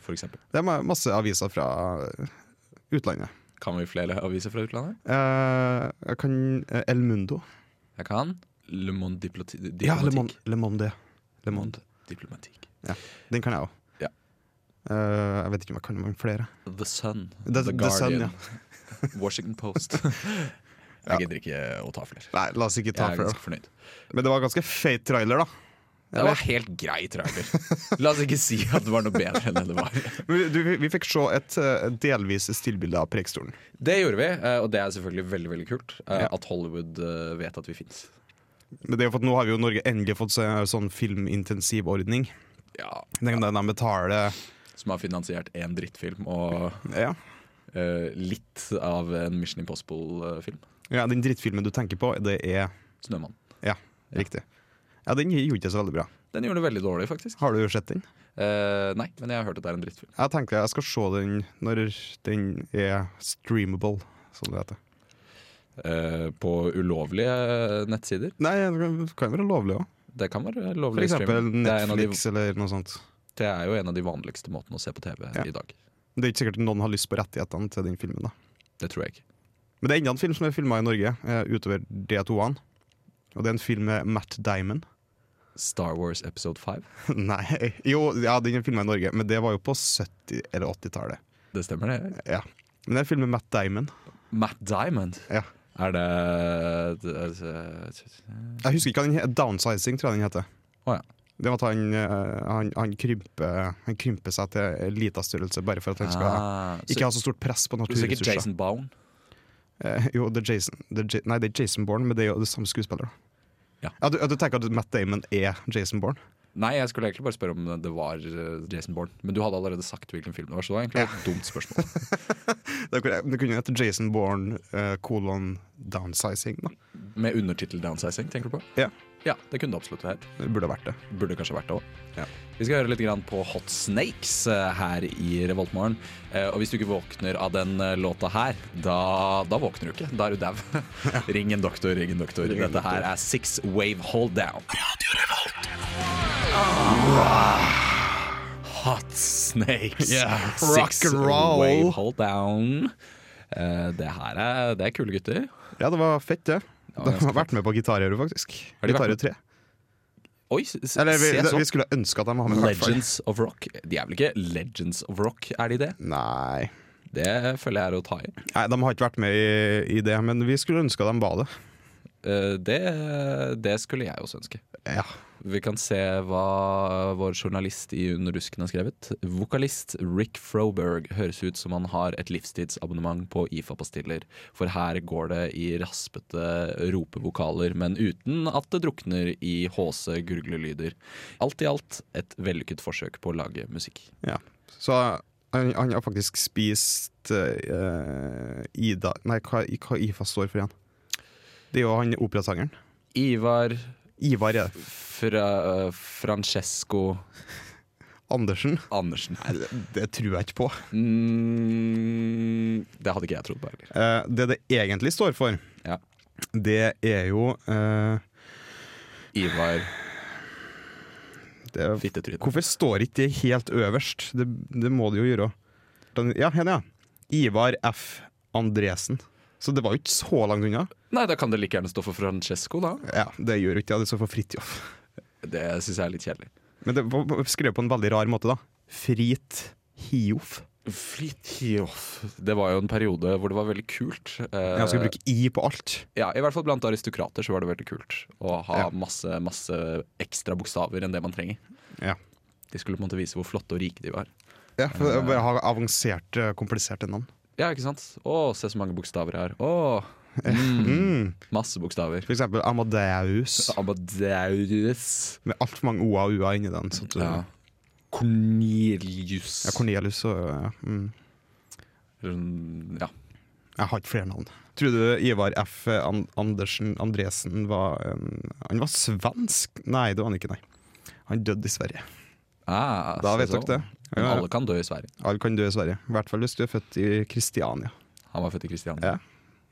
[SPEAKER 2] for eksempel.
[SPEAKER 5] Det er ma- masse aviser fra eh, utlandet.
[SPEAKER 2] Kan vi flere aviser fra utlandet?
[SPEAKER 5] Eh, jeg kan eh, El Mundo.
[SPEAKER 2] Jeg kan. Le Monde Diploti
[SPEAKER 5] Ja, Le Monde.
[SPEAKER 2] Diplomatique.
[SPEAKER 5] Le Monde. Le Monde.
[SPEAKER 2] Diplomatique.
[SPEAKER 5] Den kan jeg òg.
[SPEAKER 2] Mm. Ja.
[SPEAKER 5] Eh, jeg vet ikke om jeg kan mange flere.
[SPEAKER 2] The Sun.
[SPEAKER 5] The- The Sun,
[SPEAKER 2] Washington Post. Jeg gidder ikke å ta flere.
[SPEAKER 5] Nei, la oss ikke ta
[SPEAKER 2] Jeg er
[SPEAKER 5] flere.
[SPEAKER 2] ganske fornøyd.
[SPEAKER 5] Men det var ganske feit trailer, da.
[SPEAKER 2] Det var helt grei trailer. La oss ikke si at det var noe bedre enn det det var.
[SPEAKER 5] Men Du, vi- vi fikk se et eh, delvis stillbilde av Preikestolen.
[SPEAKER 2] Det gjorde vi, eh, og det er selvfølgelig veldig veldig kult eh, at Hollywood eh, vet at vi fins.
[SPEAKER 5] Men det er jo for at nå har vi jo Norge endelig fått se en sånn filmintensiv ordning.
[SPEAKER 2] Ja,
[SPEAKER 5] Den kan de betale
[SPEAKER 2] Som har finansiert én drittfilm og
[SPEAKER 5] ja.
[SPEAKER 2] eh, litt av en Mission Impossible-film.
[SPEAKER 5] ja, den drittfilmen du tenker på, det er
[SPEAKER 2] 'Snømann'.
[SPEAKER 5] Ja, riktig. Ja, den gjorde ikke så veldig bra.
[SPEAKER 2] Den gjorde det veldig dårlig, faktisk.
[SPEAKER 5] Har du sett den?
[SPEAKER 2] Eh, nei, men jeg har hørt at det er en drittfilm.
[SPEAKER 5] Jeg tenker jeg skal se den når den er streamable, som det heter.
[SPEAKER 2] Eh, på ulovlige eh, nettsider.
[SPEAKER 5] Nei, det kan være lovlig òg.
[SPEAKER 2] Det kan være
[SPEAKER 5] For
[SPEAKER 2] lovlig
[SPEAKER 5] eksempel
[SPEAKER 2] streaming. Det er, en av de,
[SPEAKER 5] Netflix eller noe sånt.
[SPEAKER 2] det er jo en av de vanligste måtene å se på TV
[SPEAKER 5] Ja.
[SPEAKER 2] i dag.
[SPEAKER 5] Men Det er ikke sikkert noen har lyst på rettighetene til den filmen. da
[SPEAKER 2] Det tror jeg ikke.
[SPEAKER 5] Men det er enda en film som er filma i Norge, eh, utover de to-ene. Og det er en film med Matt Diamond.
[SPEAKER 2] Star Wars Episode 5.
[SPEAKER 5] Nei, jo, ja, den er filma i Norge, men det var jo på 70- eller 80-tallet.
[SPEAKER 2] Det stemmer, det.
[SPEAKER 5] Ja. Men det er en film med Matt Diamond.
[SPEAKER 2] Matt Diamond.
[SPEAKER 5] Ja.
[SPEAKER 2] Er det Å
[SPEAKER 5] Jeg husker ikke hva den heter. Downsizing, tror jeg den heter.
[SPEAKER 2] ja.
[SPEAKER 5] Det var at han, eh, han, han, krymper, han krymper seg til en liten størrelse bare for at han skal
[SPEAKER 2] Ah,
[SPEAKER 5] ikke ha så stort press på
[SPEAKER 2] så, så ikke
[SPEAKER 5] naturressurser.
[SPEAKER 2] Jason Bourne?
[SPEAKER 5] Eh, jo, det er Jason, det er Ja- nei, det er Jason Bourne, men det er jo det samme skuespiller.
[SPEAKER 2] Ja.
[SPEAKER 5] da. Ja, du, ja, du tenker at Matt Damon er Jason Bourne?
[SPEAKER 2] Nei, jeg skulle egentlig bare spørre om det var eh, Jason Bourne. Men du hadde allerede sagt hvilken film det var, så det var egentlig et dumt spørsmål.
[SPEAKER 5] Det kunne det kunne jo hete Jason Bourne eh, kolon downsizing. Da.
[SPEAKER 2] Med undertittel 'Downsizing', tenker du på?
[SPEAKER 5] Ja.
[SPEAKER 2] Ja, det kunne det absolutt hett.
[SPEAKER 5] Det burde vært det.
[SPEAKER 2] Burde kanskje vært det òg.
[SPEAKER 5] Ja.
[SPEAKER 2] Vi skal høre litt grann på Hot Snakes eh, her i Revoltmorgen. Eh, Og hvis du ikke våkner av den eh, låta her, da, da våkner du ikke. Da er du dau. Ring en doktor, ring en doktor. Dette her er Six Wave Hold Down. Ah. Hot Snakes.
[SPEAKER 5] Yeah,
[SPEAKER 2] Six
[SPEAKER 5] rock and roll.
[SPEAKER 2] Wave Hold Down. Eh, Det her er, det er kule gutter.
[SPEAKER 5] Ja, det var fett, det.
[SPEAKER 2] Ja,
[SPEAKER 5] De
[SPEAKER 2] ganske
[SPEAKER 5] har vært med på Gitarhero, faktisk.
[SPEAKER 2] Har de vært
[SPEAKER 5] Gitarhero
[SPEAKER 2] med?
[SPEAKER 5] 3.
[SPEAKER 2] Oi, s- s-
[SPEAKER 5] Eller vi,
[SPEAKER 2] se
[SPEAKER 5] det,
[SPEAKER 2] sånn.
[SPEAKER 5] vi skulle ønske at de var med. i hvert fall.
[SPEAKER 2] Legends of Rock. De er vel ikke Legends of Rock, er de det?
[SPEAKER 5] Nei.
[SPEAKER 2] Det føler jeg er å ta i.
[SPEAKER 5] Nei, de har ikke vært med i, i det, men vi skulle ønske at de var det.
[SPEAKER 2] Eh, Det, det skulle jeg også ønske.
[SPEAKER 5] Ja.
[SPEAKER 2] Vi kan se hva vår journalist i Under rusken har skrevet. Vokalist Rick Froberg høres ut som han har et livstidsabonnement på IFA-pastiller, for her går det i raspete ropevokaler, men uten at det drukner i håse gurglelyder. Alt i alt et vellykket forsøk på å lage musikk.
[SPEAKER 5] ja. Så han, han har faktisk spist eh, Ida Nei, hva, hva IFA står for igjen? Det er jo han operasangeren.
[SPEAKER 2] Ivar
[SPEAKER 5] Ivar er det.
[SPEAKER 2] Fra, eh, Francesco
[SPEAKER 5] Andersen.
[SPEAKER 2] Andersen.
[SPEAKER 5] Nei, det, det tror jeg ikke på.
[SPEAKER 2] Mm, det hadde ikke jeg trodd på heller.
[SPEAKER 5] Eh, det det egentlig står for,
[SPEAKER 2] Ja.
[SPEAKER 5] det er jo eh,
[SPEAKER 2] Ivar
[SPEAKER 5] det, er-
[SPEAKER 2] Fittetryne.
[SPEAKER 5] Hvorfor står ikke det helt øverst? Det, det må det jo gjøre. Den- Ja, her, ja. Ivar F. Andresen. Så det var jo ikke så langt unna.
[SPEAKER 2] Nei, da kan det like gjerne stå for Francesco, da.
[SPEAKER 5] Ja, Det gjør jo ikke det, det står for Fridtjof.
[SPEAKER 2] Det syns jeg er litt kjedelig.
[SPEAKER 5] Men det var var skrevet på en veldig rar måte, da. Frit Hiof.
[SPEAKER 2] Fritjof. Det var jo en periode hvor det var veldig kult. Eh,
[SPEAKER 5] Jeg skal bruke i på alt.
[SPEAKER 2] ja, I hvert fall blant aristokrater så var det veldig kult å ha
[SPEAKER 5] Ja.
[SPEAKER 2] masse, masse ekstra bokstaver enn det man trenger.
[SPEAKER 5] Ja.
[SPEAKER 2] De skulle på en måte vise hvor flotte og rike de var.
[SPEAKER 5] Ja, for jeg bare har avanserte, kompliserte navn.
[SPEAKER 2] Ja, ikke sant? Å, se så mange bokstaver jeg har. Å, mm,
[SPEAKER 5] Mm.
[SPEAKER 2] masse bokstaver.
[SPEAKER 5] For eksempel Amadeus,
[SPEAKER 2] Amadeus.
[SPEAKER 5] med altfor mange o-a og u-a inni den. Så at du,
[SPEAKER 2] Ja.
[SPEAKER 5] ja.
[SPEAKER 2] Cornelius.
[SPEAKER 5] Cornelius og ja. Mm.
[SPEAKER 2] Mm, ja.
[SPEAKER 5] Jeg har ikke flere navn. Tror du Ivar F. An Andersen Andresen var en, Han var svensk? Nei, det var han ikke, nei. Han døde i Sverige.
[SPEAKER 2] Ah,
[SPEAKER 5] Da
[SPEAKER 2] se
[SPEAKER 5] vet
[SPEAKER 2] så.
[SPEAKER 5] dere det.
[SPEAKER 2] Men
[SPEAKER 5] Ja,
[SPEAKER 2] alle kan dø i Sverige.
[SPEAKER 5] alle kan dø i Sverige. I hvert fall hvis du er født i Kristiania.
[SPEAKER 2] Han var født i Kristiania.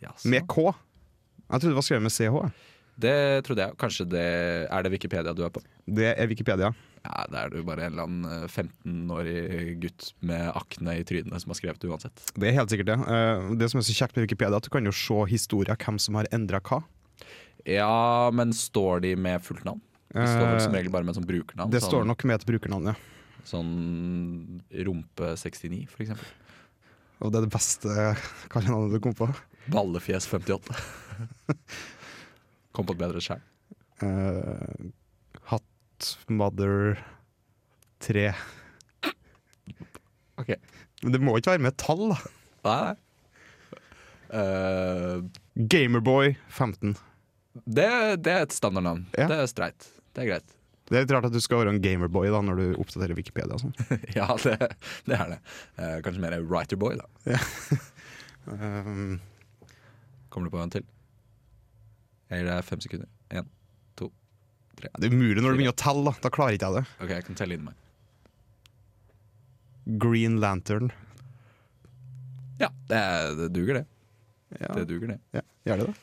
[SPEAKER 5] Ja.
[SPEAKER 2] så.
[SPEAKER 5] Med K. Jeg trodde det var skrevet med CH.
[SPEAKER 2] Det trodde jeg. Kanskje det er det Wikipedia du er på?
[SPEAKER 5] Det er Wikipedia.
[SPEAKER 2] Ja, Det er du bare en eller annen eh, 15-årig gutt med akne i trynet som har skrevet det uansett.
[SPEAKER 5] Det er helt sikkert det. Eh, Det som er så kjekt med Wikipedia, er at du kan jo se historier, hvem som har endra hva.
[SPEAKER 2] Ja, men står de med fullt navn? De står vel som
[SPEAKER 5] Eh,
[SPEAKER 2] regel bare med sånn brukernavn.
[SPEAKER 5] Det
[SPEAKER 2] sånn,
[SPEAKER 5] står nok med et brukernavn, ja.
[SPEAKER 2] Sånn Rumpe69, for eksempel.
[SPEAKER 5] Og det er det beste kallenavnet du kom på.
[SPEAKER 2] Ballefjes58. Kom på et bedre skjær.
[SPEAKER 5] Uh, Hattmother 3.
[SPEAKER 2] Ok.
[SPEAKER 5] Men det må ikke være med et tall, da.
[SPEAKER 2] Nei, nei. Eh,
[SPEAKER 5] Gamerboy 15.
[SPEAKER 2] det, det er et standardnavn.
[SPEAKER 5] Ja.
[SPEAKER 2] Det er streit. Det er greit.
[SPEAKER 5] Det er litt rart at du skal være en gamerboy da når du oppdaterer Wikipedia. og sånn.
[SPEAKER 2] ja, det, det er det. Eh, kanskje mer writerboy, da.
[SPEAKER 5] Eh,
[SPEAKER 2] Kommer du på en til? Jeg gir deg fem sekunder. Én, to
[SPEAKER 5] det er umulig når du begynner å telle, da. Da klarer ikke jeg det.
[SPEAKER 2] OK, jeg kan telle inn meg.
[SPEAKER 5] Green Lantern.
[SPEAKER 2] Ja, det, er- det duger, det.
[SPEAKER 5] Ja,
[SPEAKER 2] Det duger, det.
[SPEAKER 5] ja. Gjør det det?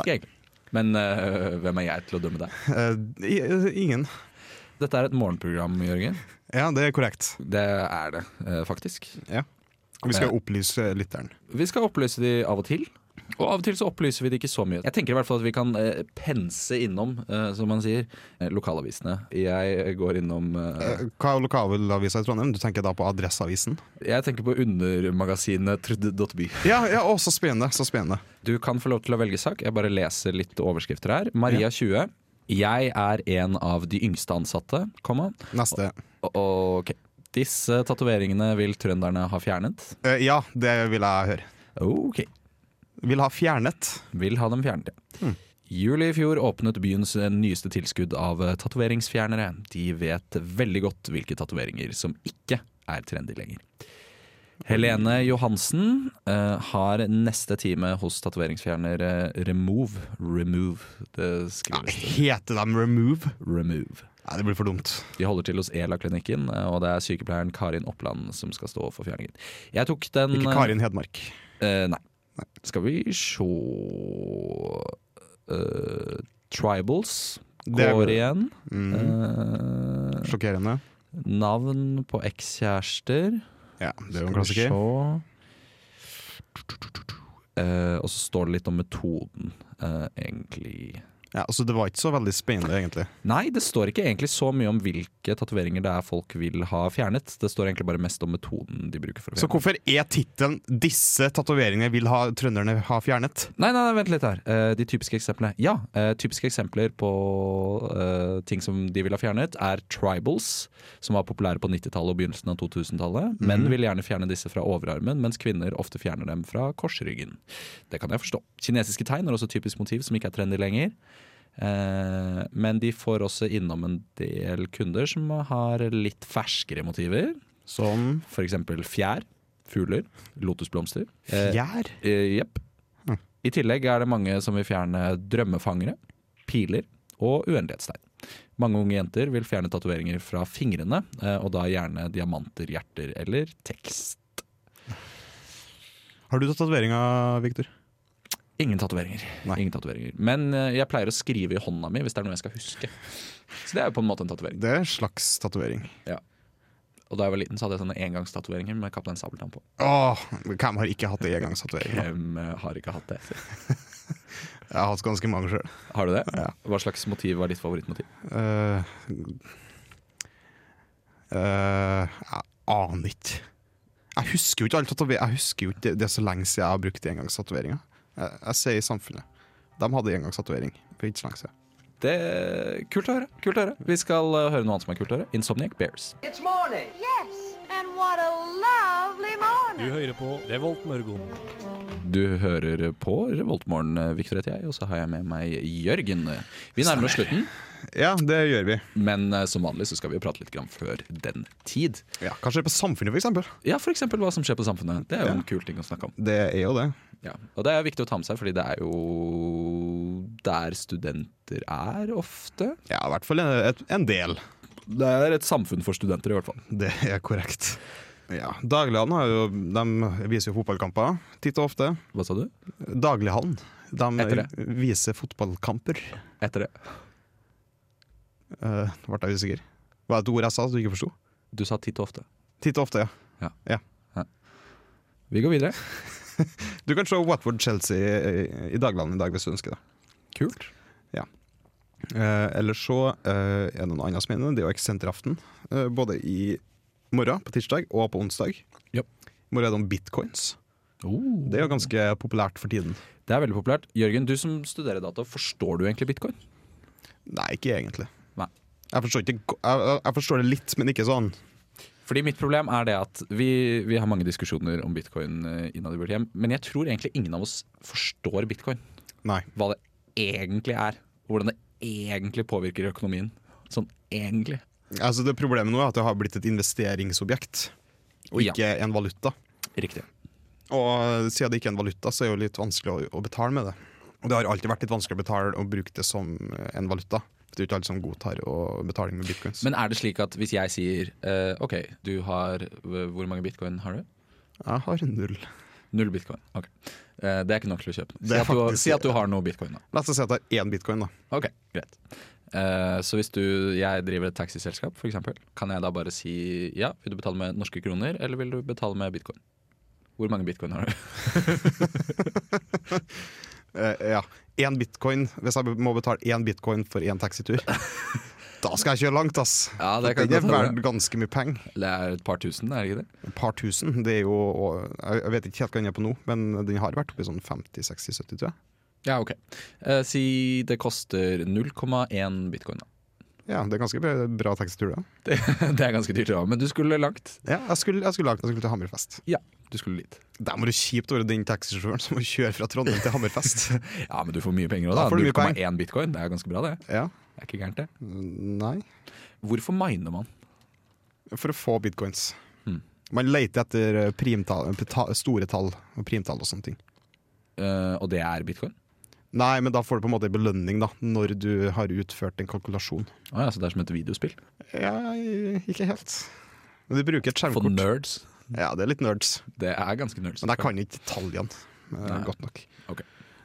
[SPEAKER 2] Ikke egentlig. Men eh, hvem er jeg til å dømme deg?
[SPEAKER 5] Eh, i- ingen.
[SPEAKER 2] Dette er et morgenprogram, Jørgen.
[SPEAKER 5] Ja, det er korrekt.
[SPEAKER 2] Det er det, eh, faktisk.
[SPEAKER 5] Vi skal opplyse lytteren.
[SPEAKER 2] Vi skal opplyse de av og til. Og av og til så opplyser vi det ikke så mye. Jeg tenker i hvert fall at vi kan eh, pense innom, eh, som man sier, eh, lokalavisene. Jeg går innom eh,
[SPEAKER 5] Eh, Hva er lokalavisa i Trondheim? Du tenker da på Adresseavisen?
[SPEAKER 2] Jeg tenker på undermagasinet trudd.by.
[SPEAKER 5] Ja, ja, å, så spennende. Så spennende.
[SPEAKER 2] Du kan få lov til å velge sak. Jeg bare leser litt overskrifter her. Maria 20. Jeg er en av de yngste ansatte, komma.
[SPEAKER 5] Neste.
[SPEAKER 2] O- Ok. Disse tatoveringene vil trønderne ha fjernet.
[SPEAKER 5] Eh, ja, det vil jeg høre.
[SPEAKER 2] Ok.
[SPEAKER 5] Vil ha fjernet.
[SPEAKER 2] Vil ha dem fjernet.
[SPEAKER 5] Mm.
[SPEAKER 2] Juli i fjor åpnet byens nyeste tilskudd av eh, tatoveringsfjernere. De vet veldig godt hvilke tatoveringer som ikke er trendy lenger. Helene Johansen eh, har neste time hos tatoveringsfjerner eh, Remove. Remove, det skrives.
[SPEAKER 5] Heter de Remove?
[SPEAKER 2] Remove.
[SPEAKER 5] Nei, det blir for dumt.
[SPEAKER 2] De holder til hos ELA-klinikken, eh, og det er sykepleieren Karin Oppland som skal stå for fjerningen. Jeg tok den
[SPEAKER 5] Ikke
[SPEAKER 2] eh,
[SPEAKER 5] Karin Hedmark.
[SPEAKER 2] Eh, nei. Skal vi se Eh, Tribals
[SPEAKER 5] Det er-
[SPEAKER 2] går igjen.
[SPEAKER 5] Mm.
[SPEAKER 2] Eh,
[SPEAKER 5] Sjokkerende.
[SPEAKER 2] navn på ekskjærester.
[SPEAKER 5] Ja, det er jo
[SPEAKER 2] Skal
[SPEAKER 5] en
[SPEAKER 2] vi
[SPEAKER 5] klassiker.
[SPEAKER 2] se. Eh, og så står det litt om metoden, eh, egentlig.
[SPEAKER 5] Ja, altså, det var ikke så veldig spennende, egentlig.
[SPEAKER 2] Nei, det står ikke egentlig så mye om hvilke tatoveringer det er folk vil ha fjernet. Det står egentlig bare mest om metoden de bruker for å
[SPEAKER 5] Så
[SPEAKER 2] fjerne.
[SPEAKER 5] hvorfor er tittelen 'Disse tatoveringene vil ha trønderne ha fjernet'?
[SPEAKER 2] Nei, nei, nei, vent litt her. Eh, de typiske eksemplene. Ja, eh, typiske eksempler på eh, ting som de ville ha fjernet, er tribals, som var populære på 90-tallet og begynnelsen av 2000-tallet. Menn vil gjerne fjerne disse fra overarmen, mens kvinner ofte fjerner dem fra korsryggen. Det kan jeg forstå. Kinesiske tegn er også et typisk motiv som ikke er trendy lenger. Eh, men de får også innom en del kunder som har litt ferskere motiver.
[SPEAKER 5] Som
[SPEAKER 2] F.eks. fjær, fugler, lotusblomster. Eh,
[SPEAKER 5] fjær?
[SPEAKER 2] Eh, Jepp.
[SPEAKER 5] Hm.
[SPEAKER 2] I tillegg er det mange som vil fjerne drømmefangere, piler og uendelighetstegn. Mange unge jenter vil fjerne tatoveringer fra fingrene, eh, og da gjerne diamanter, hjerter eller tekst.
[SPEAKER 5] Har du tatoveringer, Viktor?
[SPEAKER 2] Ingen tatoveringer.
[SPEAKER 5] Nei.
[SPEAKER 2] Ingen tatoveringer. Men eh, jeg pleier å skrive i hånda mi hvis det er noe jeg skal huske. Så det er jo på en måte en tatovering.
[SPEAKER 5] Det er en slags tatovering.
[SPEAKER 2] Og da jeg var liten, så hadde jeg sånne engangstatoveringer med Kaptein Sabeltann på.
[SPEAKER 5] Åh, hvem har ikke hatt engangstatovering?
[SPEAKER 2] Hvem eh, har ikke hatt det?
[SPEAKER 5] Jeg har hatt ganske mange sjøl.
[SPEAKER 2] Har du det?
[SPEAKER 5] Ja.
[SPEAKER 2] Hva slags motiv var ditt favorittmotiv?
[SPEAKER 5] Uh, jeg eh, aner ikke. Jeg husker jo ikke alle tatoveringer. Jeg husker jo ikke det, det er så lenge siden jeg har brukt engangstatoveringer. Jeg, jeg ser i samfunnet. De hadde engangstatovering for ikke så lenge siden.
[SPEAKER 2] Det er kult å høre. kult å høre Vi skal eh, høre noe annet som er kult å høre. Insomniac Bears.
[SPEAKER 6] It's morning.
[SPEAKER 3] Yes, and what a lovely
[SPEAKER 4] Du
[SPEAKER 3] morning.
[SPEAKER 4] hører på Revolt Mørgon.
[SPEAKER 2] Du hører på Revoltmorgen, eh, Victor heter jeg, og så har jeg med meg Jørgen. Vi nærmer oss slutten,
[SPEAKER 5] Ja, det gjør vi.
[SPEAKER 2] men eh, som vanlig så skal vi prate litt grann før den tid.
[SPEAKER 5] Ja, Kanskje på Samfunnet, for eksempel.
[SPEAKER 2] Ja, f.eks. hva som skjer på samfunnet. Det er jo en kul ting å snakke om.
[SPEAKER 5] Det er jo det.
[SPEAKER 2] Ja. Og det er viktig å ta med seg, fordi det er jo der studenter er ofte.
[SPEAKER 5] Ja, i hvert fall en, et, en del.
[SPEAKER 2] Det er et samfunn for studenter, i hvert fall.
[SPEAKER 5] Det er korrekt. Ja, Daglighallen har jo, de viser jo fotballkamper titt og ofte.
[SPEAKER 2] Hva sa du?
[SPEAKER 5] Daglighallen
[SPEAKER 2] Heter
[SPEAKER 5] de viser fotballkamper.
[SPEAKER 2] Etter det.
[SPEAKER 5] Uh, ble jeg usikker. Var det et ord jeg sa som du ikke forsto?
[SPEAKER 2] Du sa titt og ofte.
[SPEAKER 5] Titt og ofte, ja.
[SPEAKER 2] Vi går videre.
[SPEAKER 5] Du kan se Watford-Chelsea i, i Dagland i dag hvis du ønsker det.
[SPEAKER 2] Kult.
[SPEAKER 5] Eh, eller så eh, er det noe annet som er inne. Det er jo eksenteraften. Eh, både i morgen, på tirsdag, og på onsdag.
[SPEAKER 2] Ja.
[SPEAKER 5] I morgen er det om bitcoins. Det er jo ganske populært for tiden.
[SPEAKER 2] Oh. Det er veldig populært. Jørgen, du som studerer data, forstår du egentlig bitcoin?
[SPEAKER 5] Nei, ikke egentlig.
[SPEAKER 2] Nei.
[SPEAKER 5] Jeg forstår, ikke, go- jeg, jeg- jeg forstår det litt, men ikke sånn.
[SPEAKER 2] Fordi mitt problem er det at vi, vi har mange diskusjoner om bitcoin eh, innad i vårt hjem, men jeg tror egentlig ingen av oss forstår bitcoin.
[SPEAKER 5] Nei.
[SPEAKER 2] Hva det egentlig er. og Hvordan det egentlig påvirker økonomien. Sånn egentlig.
[SPEAKER 5] Altså, det Problemet nå er at det har blitt et investeringsobjekt, og
[SPEAKER 2] Ja.
[SPEAKER 5] ikke en valuta.
[SPEAKER 2] Riktig.
[SPEAKER 5] Og siden det ikke er en valuta, så er det jo litt vanskelig å, å betale med det. Og det har alltid vært litt vanskelig å betale og bruke det som en valuta. Det er jo ikke alle som godtar å betaling med bitcoins.
[SPEAKER 2] Men er det slik at hvis jeg sier eh, OK, du har eh, Hvor mange bitcoin har du?
[SPEAKER 5] jeg har null.
[SPEAKER 2] Null bitcoin. Ok. Eh, det er ikke nok til å kjøpe noe. Si
[SPEAKER 5] Det er
[SPEAKER 2] at, du, har-
[SPEAKER 5] faktisk-
[SPEAKER 2] si at du har noe bitcoin, da.
[SPEAKER 5] La oss si at jeg har én bitcoin, da.
[SPEAKER 2] Ok, greit. Eh, så hvis du, jeg driver et taxiselskap, f.eks., kan jeg da bare si ja, vil du betale med norske kroner, eller vil du betale med bitcoin? Hvor mange bitcoin har du?
[SPEAKER 5] Eh, ja. Én bitcoin. Hvis jeg må betale én bitcoin for én taxitur, da skal jeg kjøre langt, ass.
[SPEAKER 2] Ja,
[SPEAKER 5] det,
[SPEAKER 2] det kan
[SPEAKER 5] er
[SPEAKER 2] godt hende.
[SPEAKER 5] verdt ganske mye penger.
[SPEAKER 2] Det er et par tusen, er det ikke det?
[SPEAKER 5] Et par tusen. Det er jo og, Jeg jeg vet ikke helt hva den er på nå, men den har vært oppi sånn 50-60-70, tror jeg.
[SPEAKER 2] Ja, ok. Eh, si det koster 0,1 bitcoin, da.
[SPEAKER 5] Ja, det er ganske bra, bra taxitur, det.
[SPEAKER 2] Det, det er ganske dyrt, ja. men du skulle langt.
[SPEAKER 5] Ja, jeg skulle, jeg skulle, lagt- jeg skulle til Hammerfest.
[SPEAKER 2] Ja, du skulle dit.
[SPEAKER 5] Der må det kjipt å være den taxisjåføren som må kjøre fra Trondheim til Hammerfest.
[SPEAKER 2] Ja, men du får mye penger òg,
[SPEAKER 5] Da
[SPEAKER 2] da.
[SPEAKER 5] får du mye penger.
[SPEAKER 2] 0,1 bitcoin, det er ganske bra, det.
[SPEAKER 5] ja,
[SPEAKER 2] Det er ikke gærent, det.
[SPEAKER 5] nei
[SPEAKER 2] Hvorfor miner man?
[SPEAKER 5] For å få bitcoins.
[SPEAKER 2] Hmm.
[SPEAKER 5] Man leter etter primtall, ta- store tall og primtall og sånne ting.
[SPEAKER 2] Eh, og det er bitcoin?
[SPEAKER 5] Nei, men da får du på en måte en belønning da når du har utført en kalkulasjon.
[SPEAKER 2] Å ja, så det er som et videospill?
[SPEAKER 5] Ja, ikke helt. Men du bruker et
[SPEAKER 2] For
[SPEAKER 5] skjermkort.
[SPEAKER 2] nerds.
[SPEAKER 5] Ja, det er litt nerds.
[SPEAKER 2] Det er ganske nerds.
[SPEAKER 5] Men jeg kan ikke tallene eh,
[SPEAKER 2] Nei.
[SPEAKER 5] godt nok.
[SPEAKER 2] Ok.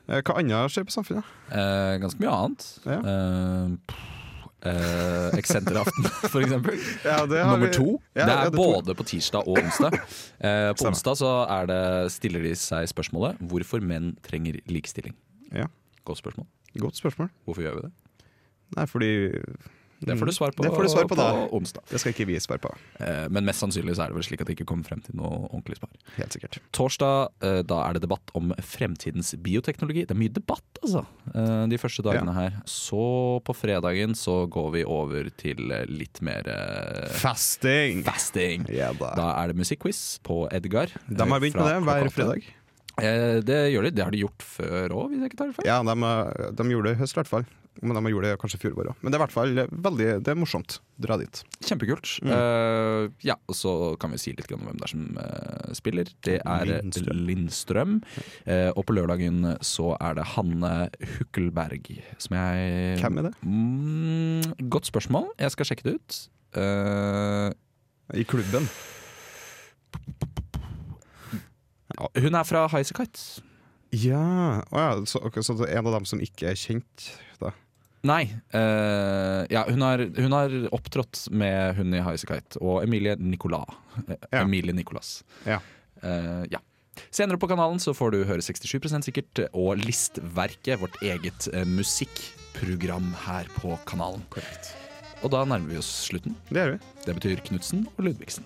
[SPEAKER 5] Eh, Hva annet skjer på samfunnet?
[SPEAKER 2] Eh, ganske mye annet.
[SPEAKER 5] Ja.
[SPEAKER 2] Eh, pff, eh, Eksenteraften, for eksempel.
[SPEAKER 5] Ja, det har
[SPEAKER 2] Nummer
[SPEAKER 5] vi-
[SPEAKER 2] to. det
[SPEAKER 5] Ja, ja,
[SPEAKER 2] er
[SPEAKER 5] det tror-
[SPEAKER 2] både på tirsdag og onsdag. Eh, på
[SPEAKER 5] Stemmer.
[SPEAKER 2] onsdag så er det, stiller de seg spørsmålet hvorfor menn trenger likestilling.
[SPEAKER 5] Ja.
[SPEAKER 2] Godt spørsmål.
[SPEAKER 5] Godt spørsmål.
[SPEAKER 2] Hvorfor gjør vi det?
[SPEAKER 5] Nei, fordi
[SPEAKER 2] Det får du svar på,
[SPEAKER 5] Mm. Det får du svar på da.
[SPEAKER 2] onsdag.
[SPEAKER 5] Det skal ikke vi svare på.
[SPEAKER 2] Eh, men mest sannsynlig så er det vel slik at de ikke kommer frem til noe ordentlig svar.
[SPEAKER 5] Helt sikkert.
[SPEAKER 2] Torsdag eh, da er det debatt om fremtidens bioteknologi. Det er mye debatt, altså, eh, de første dagene her. Så på fredagen så går vi over til eh, litt mer eh,
[SPEAKER 5] Fasting!
[SPEAKER 2] fasting.
[SPEAKER 5] Ja da.
[SPEAKER 2] Da er det musikkquiz på Edgar.
[SPEAKER 5] De har begynt med det hver fredag.
[SPEAKER 2] Eh, det gjør de. Det har de gjort før òg, hvis jeg ikke tar det feil.
[SPEAKER 5] Ja, de, eh, de gjorde det i høst i hvert fall. Men de gjorde det kanskje i fjor vår òg. Men det er i hvert fall veldig det er morsomt. Dra dit.
[SPEAKER 2] Kjempekult.
[SPEAKER 5] Mm.
[SPEAKER 2] Eh, ja, og så kan vi si litt grann om hvem det er som eh, spiller. Det er eh,
[SPEAKER 5] Lindstrøm.
[SPEAKER 2] Lindstrøm. Eh, og på lørdagen så er det Hanne Hukkelberg, som jeg
[SPEAKER 5] Hvem er det?
[SPEAKER 2] Mm, godt spørsmål. Jeg skal sjekke det ut. Eh,
[SPEAKER 5] I klubben.
[SPEAKER 2] hun er fra Highasakite.
[SPEAKER 5] Ja, Å ja så, ok, så det er en av dem som ikke er kjent, da.
[SPEAKER 2] Nei. eh, ja, hun har, hun har opptrådt med hun i Highasakite og Emilie Nicolas. Eh,
[SPEAKER 5] Ja.
[SPEAKER 2] Emilie Nicolas.
[SPEAKER 5] Ja.
[SPEAKER 2] Eh, ja. Senere på kanalen så får du høre 67 sikkert og Listverket, vårt eget eh, musikkprogram her på kanalen. Korrekt. Og da nærmer vi oss slutten.
[SPEAKER 5] Det gjør vi.
[SPEAKER 2] Det betyr Knutsen og Ludvigsen.